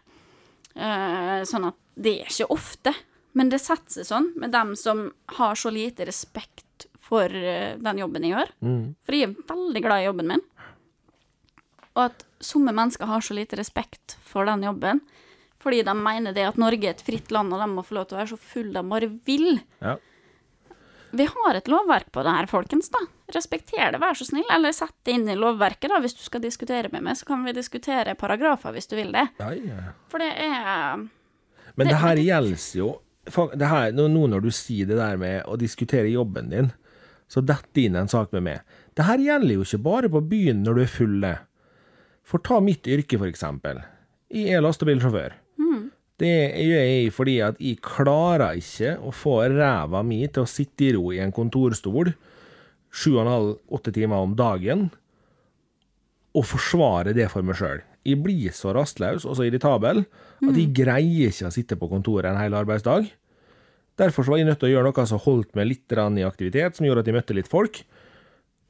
S2: Eh, sånn at det er ikke ofte. Men det setter seg sånn med dem som har så lite respekt for eh, den jobben jeg gjør. For jeg er veldig glad i jobben min. Og at somme mennesker har så lite respekt for den jobben. Fordi de mener det at Norge er et fritt land, og de må få lov til å være så full de bare vil.
S1: Ja.
S2: Vi har et lovverk på det her, folkens, da. Respekter det, vær så snill. Eller sett det inn i lovverket, da. Hvis du skal diskutere med meg, så kan vi diskutere paragrafer hvis du vil det.
S1: Ja, ja.
S2: For det er
S1: Men det her gjelder jo fa- det her, nå- Nå når du sier det der med å diskutere jobben din, så detter inn en sak med meg. Det her gjelder jo ikke bare på byen når du er full. det. For ta mitt yrke, for eksempel. Jeg er lastebilsjåfør. Det gjør jeg fordi at jeg klarer ikke å få ræva mi til å sitte i ro i en kontorstol sju og en halv, åtte timer om dagen og forsvare det for meg sjøl. Jeg blir så rastløs og så irritabel at jeg greier ikke å sitte på kontoret en hel arbeidsdag. Derfor så var jeg nødt til å gjøre noe som holdt meg litt grann i aktivitet, som gjorde at jeg møtte litt folk.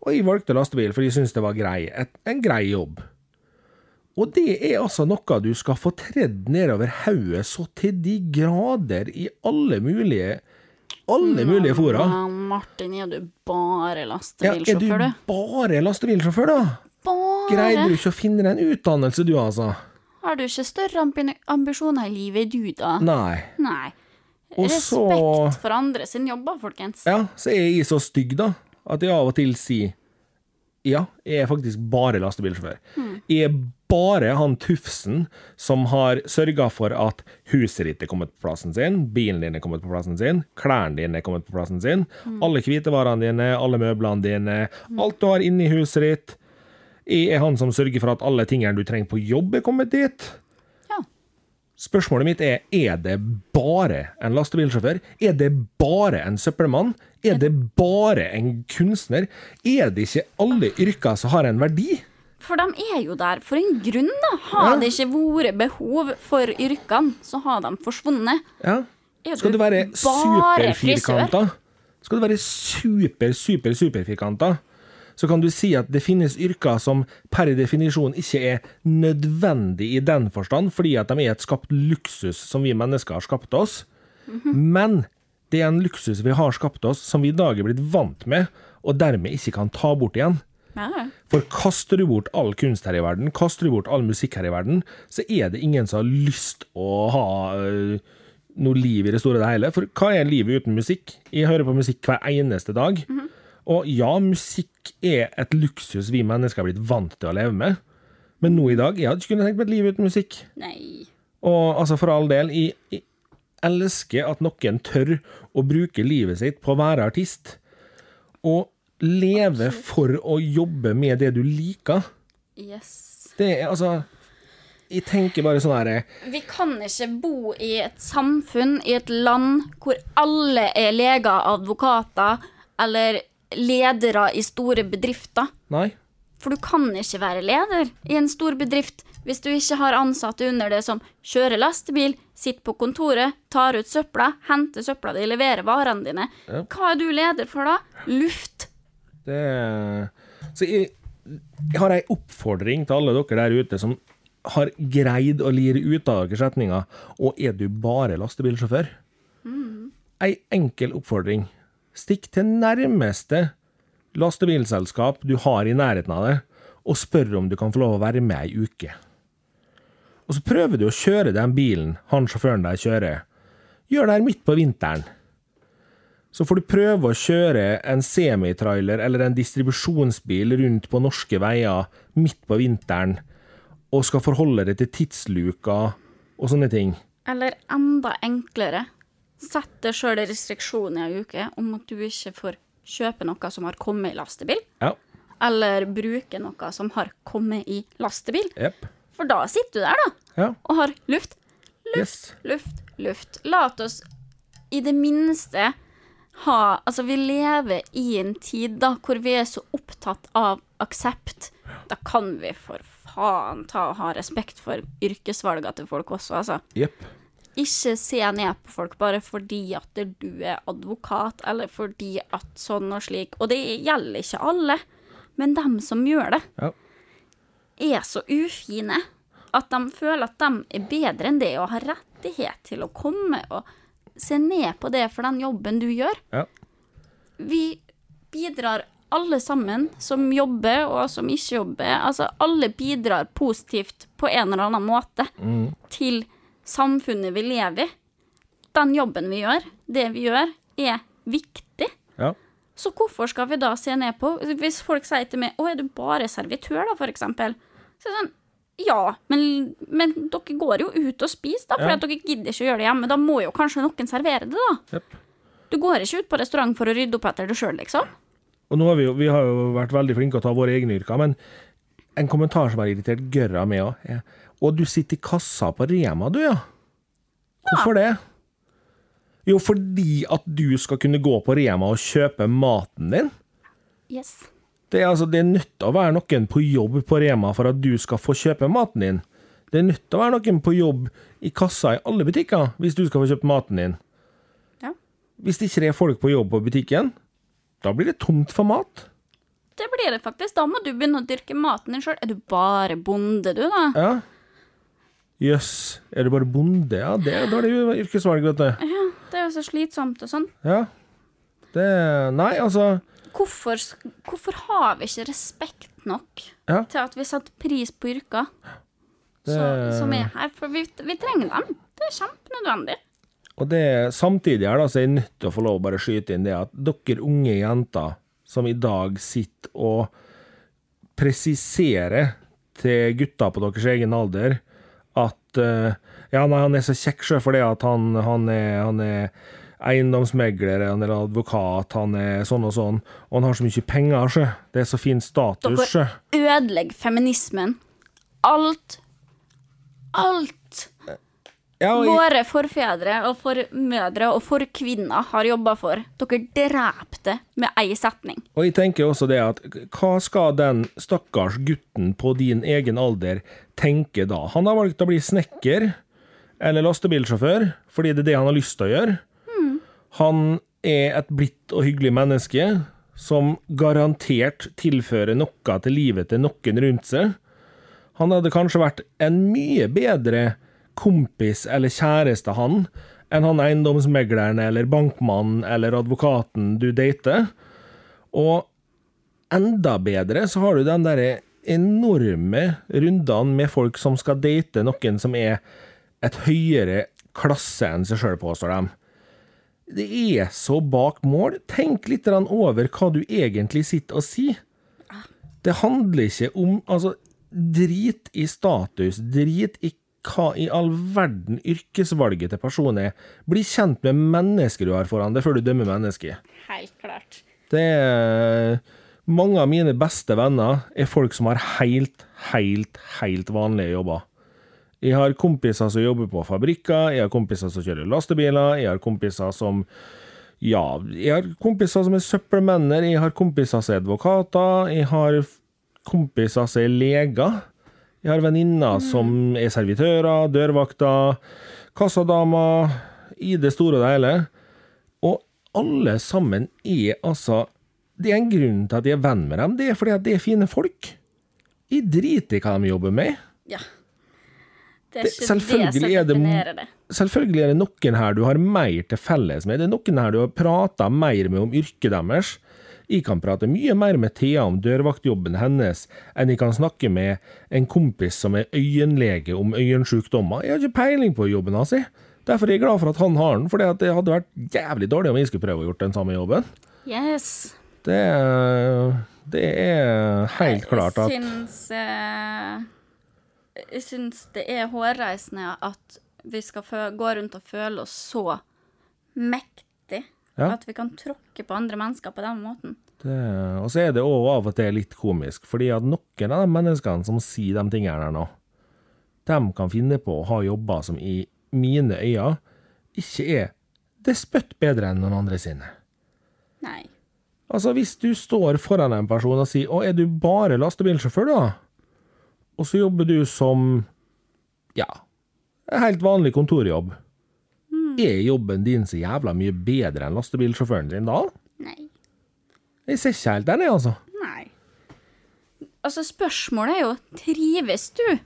S1: Og jeg valgte lastebil, for jeg syntes det var grei, et, en grei jobb. Og det er altså noe du skal få tredd nedover hodet så til de grader i alle mulige alle mulige fora.
S2: Ja, eh, Martin, er du bare
S1: Ja, er du
S2: lastebilsjåfør, du?
S1: bare lastebilsjåfør, da?
S2: Bare?
S1: Greier du ikke å finne deg en utdannelse, du, altså?
S2: Har du ikke større ambi- ambisjoner i livet, du, da?
S1: Nei.
S2: Nei.
S1: Og
S2: Respekt
S1: så-
S2: for andre sin jobb, da, folkens.
S1: Ja, så er jeg så stygg, da, at jeg av og til sier ja, jeg er faktisk bare lastebilsjåfør.
S2: Hmm.
S1: Jeg er bare han tufsen som har sørga for at huset ditt er kommet på plassen sin, bilen din er kommet på plassen sin, klærne dine er kommet på plassen sin,
S2: Hmm.
S1: alle hvitevarene dine, alle møblene dine, alt du har inni huset ditt. Jeg er han som sørger for at alle tingene du trenger på jobb, er kommet dit.
S2: Ja.
S1: Spørsmålet mitt er er det bare en lastebilsjåfør? Er det bare en søppelmann? Er det bare en kunstner? Er det ikke alle yrker som har en verdi?
S2: For de er jo der for en grunn, da. Har det ikke vært behov for yrkene, så har de forsvunnet.
S1: Ja.
S2: Er
S1: Skal du være
S2: bare
S1: superfirkanta? Skal du være super, super, superfirkanta, så kan du si at det finnes yrker som per definisjon ikke er nødvendig i den forstand, fordi at de er et skapt luksus som vi mennesker har skapt oss. Men det er en luksus vi har skapt oss, som vi i dag er blitt vant med, og dermed ikke kan ta bort igjen.
S2: Ja, ja.
S1: For kaster du bort all kunst her i verden, kaster du bort all musikk her i verden, så er det ingen som har lyst å ha øh, noe liv i det store og det hele. For hva er livet uten musikk? Jeg hører på musikk hver eneste dag. Og ja, musikk er et luksus vi mennesker har blitt vant til å leve med. Men nå i dag, jeg hadde ikke kunnet tenkt meg et liv uten musikk.
S2: Nei.
S1: Og altså, for all del, jeg, jeg elsker at noen tør å bruke livet sitt på å være artist. Og leve for å jobbe med det du liker.
S2: Yes.
S1: Det er altså Jeg tenker bare sånn herre
S2: Vi kan ikke bo i et samfunn, i et land, hvor alle er leger, advokater eller ledere i store bedrifter.
S1: Nei.
S2: For du kan ikke være leder i en stor bedrift hvis du ikke har ansatte under det som kjører lastebil, sitter på kontoret, tar ut søpla, henter søpla di, leverer varene dine.
S1: Ja.
S2: Hva er du leder for da? Luft.
S1: Det Så jeg, jeg har ei oppfordring til alle dere der ute som har greid å lire ut av dere setninga Og er du bare lastebilsjåfør? Ei enkel oppfordring. Stikk til nærmeste lastebilselskap du har i nærheten av deg, og spør om du kan få lov å være med ei uke. Og så prøver du å kjøre den bilen han sjåføren der kjører. Gjør det her midt på vinteren. Så får du prøve å kjøre en semitrailer eller en distribusjonsbil rundt på norske veier midt på vinteren, og skal forholde deg til tidsluka og sånne ting.
S2: Eller enda enklere, sett deg sjøl restriksjoner i ei uke om at du ikke får kjøpe noe som har kommet i lastebil,
S1: Ja.
S2: eller bruke noe som har kommet i lastebil.
S1: Jepp.
S2: For da sitter du der, da,
S1: Ja.
S2: og har luft.
S1: Yes.
S2: Luft, luft. La oss i det minste ha Altså, vi lever i en tid da hvor vi er så opptatt av aksept. Da kan vi for faen ta og ha respekt for yrkesvalgene til folk også, altså.
S1: Jepp.
S2: Ikke se ned på folk bare fordi at du er advokat, eller fordi at sånn og slik. Og det gjelder ikke alle, men dem som gjør det
S1: Ja.
S2: er så ufine at de føler at de er bedre enn det og har rettighet til å komme og se ned på det for den jobben du gjør.
S1: Ja.
S2: Vi bidrar alle sammen, som jobber og som ikke jobber. Altså alle bidrar positivt på en eller annen måte til samfunnet vi lever i. Den jobben vi gjør, det vi gjør, er viktig.
S1: Ja.
S2: Så hvorfor skal vi da se ned på Hvis folk sier til meg 'Å, er du bare servitør', da, for eksempel? Så er det sånn Ja, men, men dere går jo ut og spiser, da, for
S1: Ja.
S2: at dere gidder ikke å gjøre det hjemme. Da må jo kanskje noen servere det, da.
S1: Jep.
S2: Du går ikke ut på restaurant for å rydde opp etter deg sjøl, liksom.
S1: Og nå har vi, jo, vi har jo vært veldig flinke til å ta våre egne yrker, men en kommentar som har irritert gørra med òg, er Og du sitter i kassa på Rema, du, ja? Hvorfor det? Jo, fordi at du skal kunne gå på Rema og kjøpe maten din.
S2: Yes.
S1: Det er, altså, det er nødt til å være noen på jobb på Rema for at du skal få kjøpe maten din. Det er nødt til å være noen på jobb i kassa i alle butikker hvis du skal få kjøpt maten din.
S2: Ja.
S1: Hvis det ikke er folk på jobb på butikken, da blir det tomt for mat.
S2: Det blir det faktisk. Da må du begynne å dyrke maten din sjøl. Er du bare bonde, du, da?
S1: Ja. Jøss, er du bare bonde? Ja, det er dårlig yrkesvalg, vet du.
S2: Ja, det er jo så slitsomt og sånn.
S1: Ja. Det Nei, altså.
S2: Hvorfor, sk- hvorfor har vi ikke respekt nok
S1: Ja.
S2: til at vi setter pris på yrker
S1: Det-
S2: så- som er her? For vi, vi trenger dem. Det er kjempenødvendig.
S1: Og det, samtidig her da, så er jeg nødt til å få lov å bare skyte inn det at dere unge jenter som i dag sitter og presiserer til gutta på deres egen alder at eh, ja, nei, han er så kjekk sjø fordi at han, han, er, han er eiendomsmegler, han er advokat, han er sånn og sånn, og han har så mye penger sjø. Det er så fin status sjø.
S2: Dere ødelegger feminismen. Alt. Alt.
S1: Ja, og i-
S2: Våre forfedre og formødre og forkvinner har jobba for. Dere dreper det med ei setning.
S1: Og jeg tenker også det at hva skal den stakkars gutten på din egen alder tenke da? Han har valgt å bli snekker eller lastebilsjåfør fordi det er det han har lyst til å gjøre. Han er et blidt og hyggelig menneske som garantert tilfører noe til livet til noen rundt seg. Han hadde kanskje vært en mye bedre kompis eller kjæreste, han, enn han eiendomsmegleren eller bankmannen eller advokaten du dater. Og enda bedre så har du den derre enorme rundene med folk som skal date noen som er et høyere klasse enn seg sjøl, påstår de. Det er så bak mål. Tenk litt grann over hva du egentlig sitter og sier. Det handler ikke om Altså, drit i status, drit i hva i all verden yrkesvalget til personen er. Bli kjent med mennesket du har foran deg, før du dømmer mennesket.
S2: Helt klart.
S1: Det er Mange av mine beste venner er folk som har helt, helt, helt vanlige jobber. Jeg har kompiser som jobber på fabrikker, jeg har kompiser som kjører lastebiler, jeg har kompiser som Ja, jeg har kompiser som er søppelmenner, jeg har kompiser som er advokater, jeg har f- kompiser som er leger. Jeg har venninner som er servitører, dørvakter, kassadamer I det store og det hele. Og alle sammen er altså Det er en grunn til at jeg er venn med dem. Det er fordi at det er fine folk. Jeg driter i hva de jobber med.
S2: Ja. Det er
S1: Det-
S2: ikke
S1: selvfølgelig
S2: det som
S1: er det-
S2: definerer det.
S1: Selvfølgelig er det noen her du har mer til felles med. Det er noen her du har prata mer med om yrket deres. Jeg kan prate mye mer med Thea om dørvaktjobben hennes enn jeg kan snakke med en kompis som er øyenlege om øyensjukdommer. Jeg har ikke peiling på jobben hans. jeg. Derfor er jeg glad for at han har den, for det hadde vært jævlig dårlig om jeg skulle prøve å gjort den samme jobben.
S2: Yes.
S1: Det, er- det er helt klart at
S2: Jeg syns, eh, jeg syns det er hårreisende at vi skal fø gå rundt og føle oss så mektig
S1: Ja.
S2: at vi kan tråkke på andre mennesker på den måten.
S1: det, eh, Og så er det òg av og til litt komisk, fordi at noen av de menneskene som sier de tingene her nå, de kan finne på å ha jobber som i mine øyne ikke er det spytt bedre enn noen andre sine.
S2: Nei.
S1: Altså, hvis du står foran en person og sier 'Å, er du bare lastebilsjåfør, da?' Og så jobber du som ja, en helt vanlig kontorjobb. Er jobben din så jævla mye bedre enn lastebilsjåføren din da?
S2: Nei.
S1: Jeg ser ikke helt den, jeg, altså.
S2: Nei. Altså, spørsmålet er jo trives du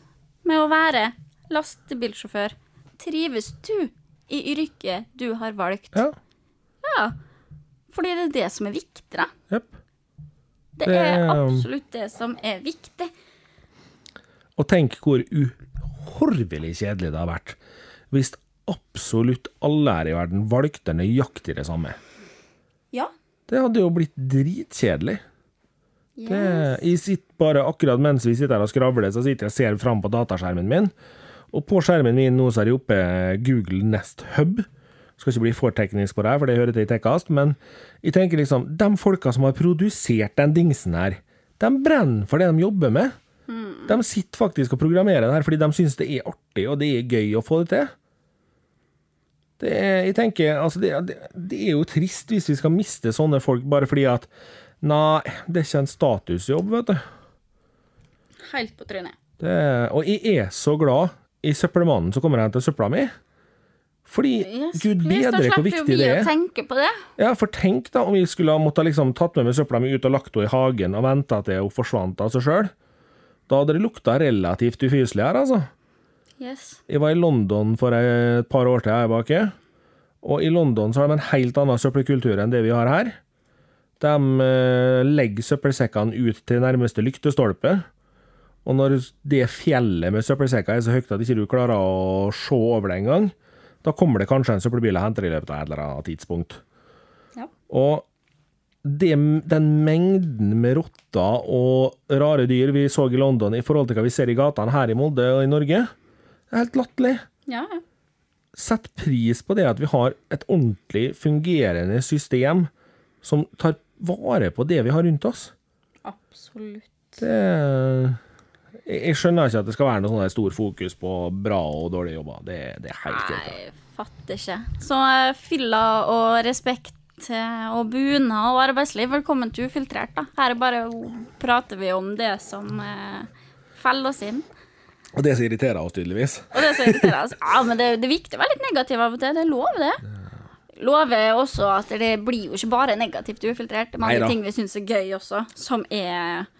S2: med å være lastebilsjåfør? Trives du i yrket du har valgt?
S1: Ja.
S2: Ja. Fordi det er det som er viktig, da.
S1: Jep. Det-
S2: Det
S1: um,
S2: er absolutt det som er viktig.
S1: Og tenk hvor uhorvelig kjedelig det har vært hvis absolutt alle her i verden valgte nøyaktig det samme.
S2: Ja.
S1: Det hadde jo blitt dritkjedelig. Det, jeg sitter bare akkurat mens vi sitter her og skravler, så sitter jeg og ser fram på dataskjermen min. Og på skjermen min nå så er jeg oppe Google Nest Hub. Skal ikke bli for teknisk på det her, for det hører til i Tekkast, men jeg tenker liksom De folka som har produsert den dingsen her, de brenner for det de jobber med. De sitter faktisk og programmerer den her fordi de syns det er artig, og det er gøy å få det til. Det er, jeg tenker, altså det, det, det er jo trist hvis vi skal miste sånne folk bare fordi at Nei, det er ikke en statusjobb, vet du.
S2: Helt på trynet.
S1: Det er, og jeg er så glad i søppelmannen som kommer hen til søpla mi. Fordi
S2: Yes,
S1: gud
S2: please,
S1: bedre
S2: da
S1: hvor
S2: slipper jo vi
S1: viktig det
S2: å
S1: er.
S2: tenke på det.
S1: Ja, for tenk da om vi skulle ha måttet liksom tatt med meg søpla mi ut og lagt henne i hagen og venta til hun forsvant av seg sjøl. Da hadde det lukta relativt ufyselig her, altså.
S2: Yes.
S1: Jeg var i London for et par år til her baki, og i London så har de en helt annen søppelkultur enn det vi har her. De eh, legger søppelsekkene ut til nærmeste lyktestolpe, og når det fjellet med søppelsekker er så høyt at ikke du klarer å se over det engang, da kommer det kanskje en søppelbil og henter det i løpet av et eller annet tidspunkt.
S2: Ja.
S1: Og det, den mengden med rotter og rare dyr vi så i London i forhold til hva vi ser i gatene her i Molde og i Norge, det er helt latterlig.
S2: Ja, ja.
S1: Sett pris på det at vi har et ordentlig fungerende system som tar vare på det vi har rundt oss.
S2: absolutt.
S1: Det Jeg jeg skjønner ikke at det skal være noe sånn der stor fokus på bra og dårlige jobber. Det, det er helt greit.
S2: Nei, fatter ikke. Så eh, fylla og respekt eh, og bunad og arbeidsliv, velkommen til Ufiltrert, da. Her er bare prater vi om det som eh, feller oss inn.
S1: Og det som irriterer oss, tydeligvis.
S2: Og det er så irriterende. Altså, ja, men det, det er viktig å være litt negativ av og til. Det er lov, det. Lover også at det blir jo ikke bare negativt ufiltrert. Det er mange
S1: Neida.
S2: ting vi syns er gøy også, som er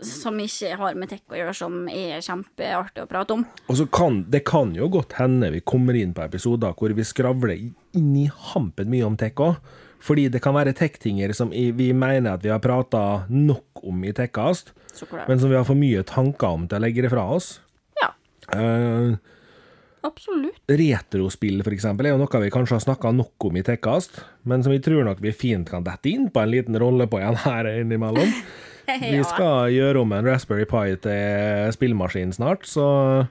S2: Som ikke har med tech å gjøre, som er kjempeartig å prate om.
S1: Og så kan det kan jo godt hende vi kommer inn på episoder hvor vi skravler i- inn i hampen mye om tech òg. Fordi det kan være tech-tinger som i- vi mener at vi har prata nok om i Tekkast,
S2: Så klart.
S1: men som vi har for mye tanker om til å legge det fra oss.
S2: Ja,
S1: Eh,
S2: absolutt.
S1: retrospill, for eksempel, er jo noe vi kanskje har snakka nok om i Tekkast, men som vi tror nok vi fint kan dette inn på en liten rolle på igjen her innimellom. Vi skal gjøre om en Raspberry Pi til spillmaskin snart, så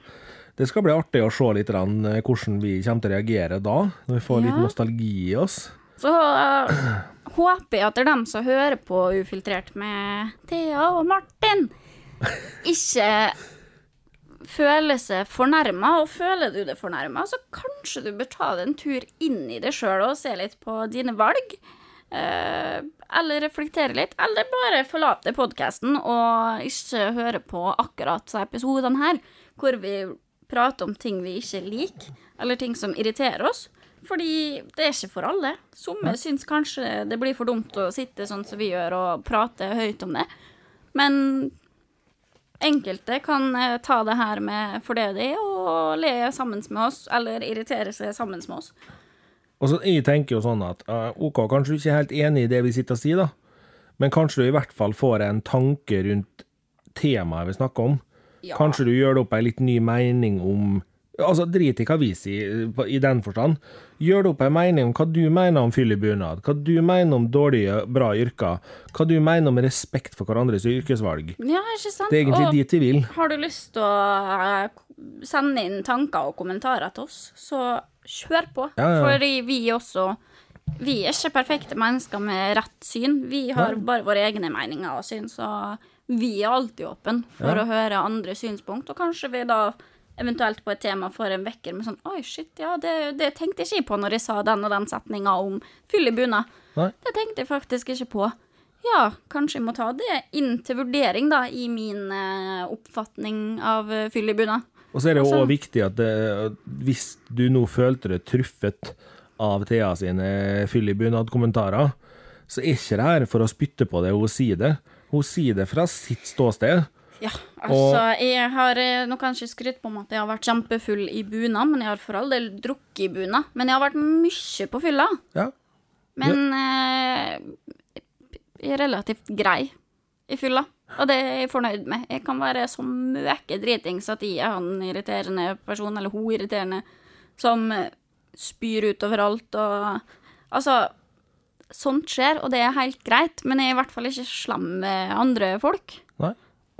S1: det skal bli artig å se litt grann eh, hvordan vi kommer til å reagere da, når vi får litt
S2: Ja.
S1: nostalgi i oss.
S2: Så eh, håper jeg at det er dem som hører på Ufiltrert med Thea og Martin, ikke føler seg fornærma. Og føler du det fornærma, så kanskje du bør ta deg en tur inn i det sjøl og se litt på dine valg. Eh, eller reflektere litt, eller bare forlate podkasten og ikke høre på akkurat disse episodene her, hvor vi prater om ting vi ikke liker, eller ting som irriterer oss. Fordi det er ikke for alle. Somme syns kanskje det blir for dumt å sitte sånn som vi gjør, og prate høyt om det. Men enkelte kan eh, ta det her med for det det er, og le sammen med oss, eller irritere seg sammen med oss.
S1: Og så Jeg tenker jo sånn at eh, OK, kanskje du ikke er helt enig i det vi sitter og sier, da, men kanskje du i hvert fall får en tanke rundt temaet vi snakker om. Kanskje du gjør det opp ei litt ny mening om Altså, drit i hva vi sier, på- i den forstand. Gjør det opp ei mening om hva du mener om fyll i bunad, hva du mener om dårlige, bra yrker, hva du mener om respekt for hverandres yrkesvalg.
S2: Ja, ikke sant?
S1: Det er egentlig
S2: Og-
S1: dit vi vil.
S2: Har du lyst til å eh, sende inn tanker og kommentarer til oss, så kjør på.
S1: Ja, ja, ja.
S2: Fordi vi også Vi er ikke perfekte mennesker med rett syn. Vi har bare våre egne meninger og syn, så vi er alltid åpne for å høre andre synspunkt. Og kanskje vi da eventuelt på et tema får en vekker med sånn Oi, shit, ja, det, det tenkte jeg ikke på når jeg sa den og den setninga om fyll i bunad.
S1: Nei?
S2: Det tenkte jeg faktisk ikke på. Ja, kanskje jeg må ta det inn til vurdering, da, i min eh, oppfatning av eh, fyll i bunad.
S1: Og så er det jo
S2: Altså-
S1: òg viktig at det, hvis du nå følte deg truffet av Thea sine fyll i bunad-kommentarer, så er ikke det her for å spytte på det hun sier det. Hun sier det fra sitt ståsted.
S2: Ja, altså, jeg har eh, Nå kan jeg ikke skryte på meg at jeg har vært kjempefull i bunad, men jeg har for all del drukket i bunad. Men jeg har vært mye på fylla.
S1: Ja,
S2: Men eh, jeg er relativt grei i fylla, og det er jeg fornøyd med. Jeg kan være så møke dritings at jeg er han irriterende person, eller hun eh, irriterende, som spyr ut overalt og Altså, sånt skjer, og det er helt greit, men jeg er i hvert fall ikke slem med andre folk.
S1: Nei.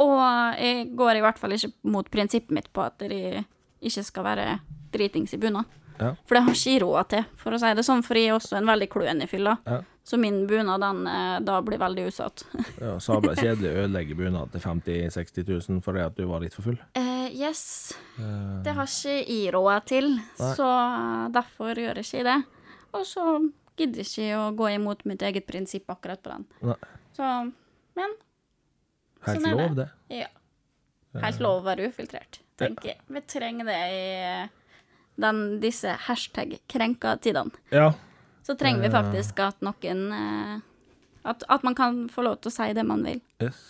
S2: Og jeg går i hvert fall ikke mot prinsippet mitt på at jeg ikke skal være dritings i bunad.
S1: Ja.
S2: For det har ikke jeg råd til, for å si det sånn, for jeg er også en veldig kløen i fylla.
S1: Ja.
S2: Så min bunad, den eh, da blir veldig utsatt.
S1: Ja, Sabla kjedelig å ødelegge bunad til 50 000-60 000 fordi at du var litt for full.
S2: Eh, yes.
S1: Eh.
S2: Det har ikke jeg råd til, så derfor gjør jeg ikke det. Og så gidder jeg ikke å gå imot mitt eget prinsipp akkurat på den.
S1: Nei.
S2: Så, men
S1: Helt
S2: Sånn er
S1: lov, det.
S2: ja.
S1: Eh.
S2: Helt lov å være ufiltrert, tenker jeg. Vi trenger det i eh, den, disse hashtag-krenka-tidene.
S1: Ja.
S2: Så trenger vi faktisk at noen eh, at, at man kan få lov til å si det man vil.
S1: Yes.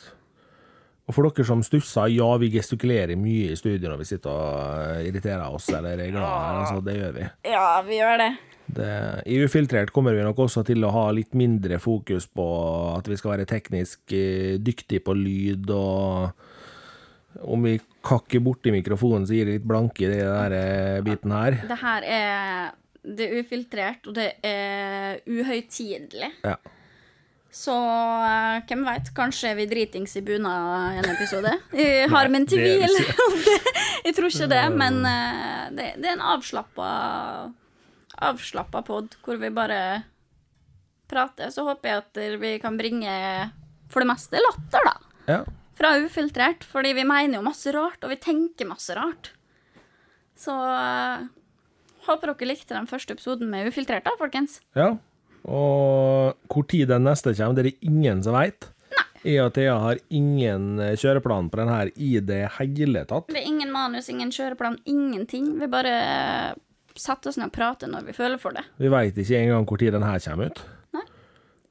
S1: Og for dere som stusser, ja, vi gestikulerer mye i studio når vi sitter og irriterer oss eller er glad. Altså, det gjør vi.
S2: Ja, vi gjør det.
S1: Det, I Ufiltrert kommer vi nok også til å ha litt mindre fokus på at vi skal være teknisk eh, dyktig på lyd og Om vi kakker borti mikrofonen, så gir det litt blanke i den der eh, biten her.
S2: Det her er Det er ufiltrert, og det er uhøytidelig.
S1: Ja.
S2: Så eh, hvem veit? Kanskje er vi dritings i bunad i en episode? Jeg har min
S1: det er vi Mm.
S2: tvil om det. Jeg tror ikke det, men eh, det, det er en avslappa Avslappa pod hvor vi bare prater. Så håper jeg at vi kan bringe for det meste latter, da
S1: ja.
S2: fra ufiltrert, fordi vi mener jo masse rart, og vi tenker masse rart. Så eh, håper dere likte den første episoden med Ufiltrert, da, folkens.
S1: Ja. Og hvor tid den neste kommer, det er det ingen som veit. Jeg og Thea har ingen eh, kjøreplan på den her i det hele tatt.
S2: Det er ingen manus, ingen kjøreplan, ingenting. Vi bare eh, setter oss ned og prater når vi føler for det.
S1: Vi veit ikke engang hvor tid den her kommer ut.
S2: Nei.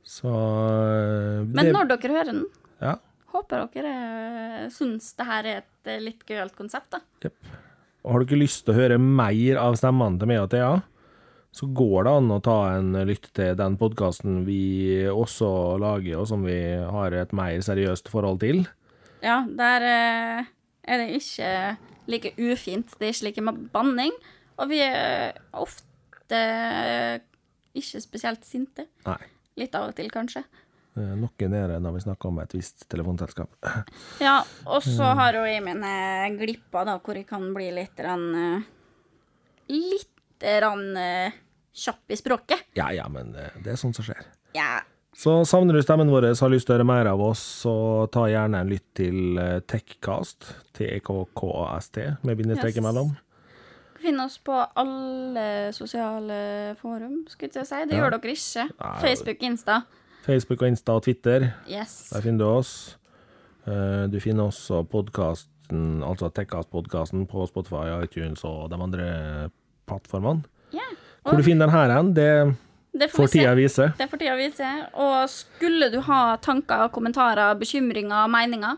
S1: Så eh,
S2: Men
S1: det-
S2: når dere hører den,
S1: Ja.
S2: håper dere eh, syns det her er et eh, litt gøyalt konsept, da.
S1: Jep. Og har du ikke lyst til å høre mer av stemmene til meg og Thea, så går det an å ta en lytt til den podkasten vi også lager, og som vi har et mer seriøst forhold til.
S2: Ja, der eh, er det ikke like ufint. Det er ikke like med banning. Og vi er ofte ikke spesielt sinte.
S1: Nei.
S2: Litt av og til, kanskje.
S1: eh, Noe nede når vi snakker om et visst telefonselskap.
S2: Ja, og så har jo jeg mine glipper, eh, da, hvor jeg kan bli litt rann, eh, Litt rann eh, kjapp i språket.
S1: Ja ja, men eh, det er sånt som skjer.
S2: Ja.
S1: Så savner du stemmen vår, har lyst til å høre mer av oss, så ta gjerne en lytt til eh, Techcast, E T-E-K-K-A-S-T, med bindestreker
S2: Yes.
S1: imellom.
S2: Finn oss på alle sosiale forum, skulle jeg til å si. Det gjør dere ikke.
S1: Nei.
S2: Facebook, Insta.
S1: Facebook og Insta og Twitter.
S2: Yes.
S1: Der finner du oss. Eh, Du finner også podkasten, altså Tekkast-podkasten, på Spotify, iTunes og de andre plattformene.
S2: Ja.
S1: Hvor du finner den her hen, det
S2: Det
S1: får
S2: vi se.
S1: tida vise.
S2: Det får tida vise. Og skulle du ha tanker, kommentarer, bekymringer og meninger,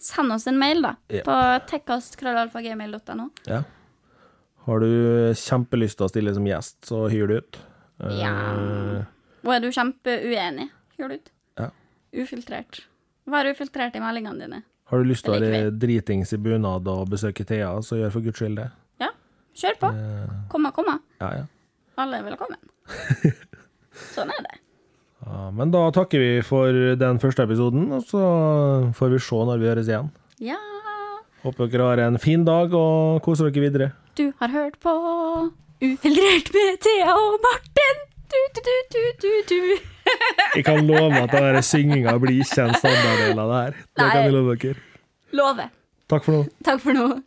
S2: send oss en mail, da.
S1: Ja.
S2: På tekkastkrøllalfagmail.no.
S1: Ja. Har du kjempelyst til å stille som gjest, så hyr du ut. Eh,
S2: Ja. Og er du kjempeuenig, gjør du ut.
S1: Ja.
S2: Ufiltrert. Vær ufiltrert i meldingene dine.
S1: Har du lyst til å
S2: Det liker
S1: være dritings i bunad og besøke Thea, så gjør for guds skyld det. Eh,
S2: Ja, kjør på. Komma, komma.
S1: Ja, ja.
S2: Alle er velkommen. Sånn er det.
S1: Ja, Men da takker vi for den første episoden, og så får vi se når vi høres igjen.
S2: Ja.
S1: Håper dere har en fin dag og koser dere videre.
S2: Du har hørt på Ufiltrert med Thea og Martin. Du, du, du, du, du, du.
S1: Jeg kan love at den der synginga blir ikke en standarddel av det her. Det kan
S2: Nei.
S1: jeg love dere.
S2: Lover.
S1: Takk for nå.
S2: Takk for nå.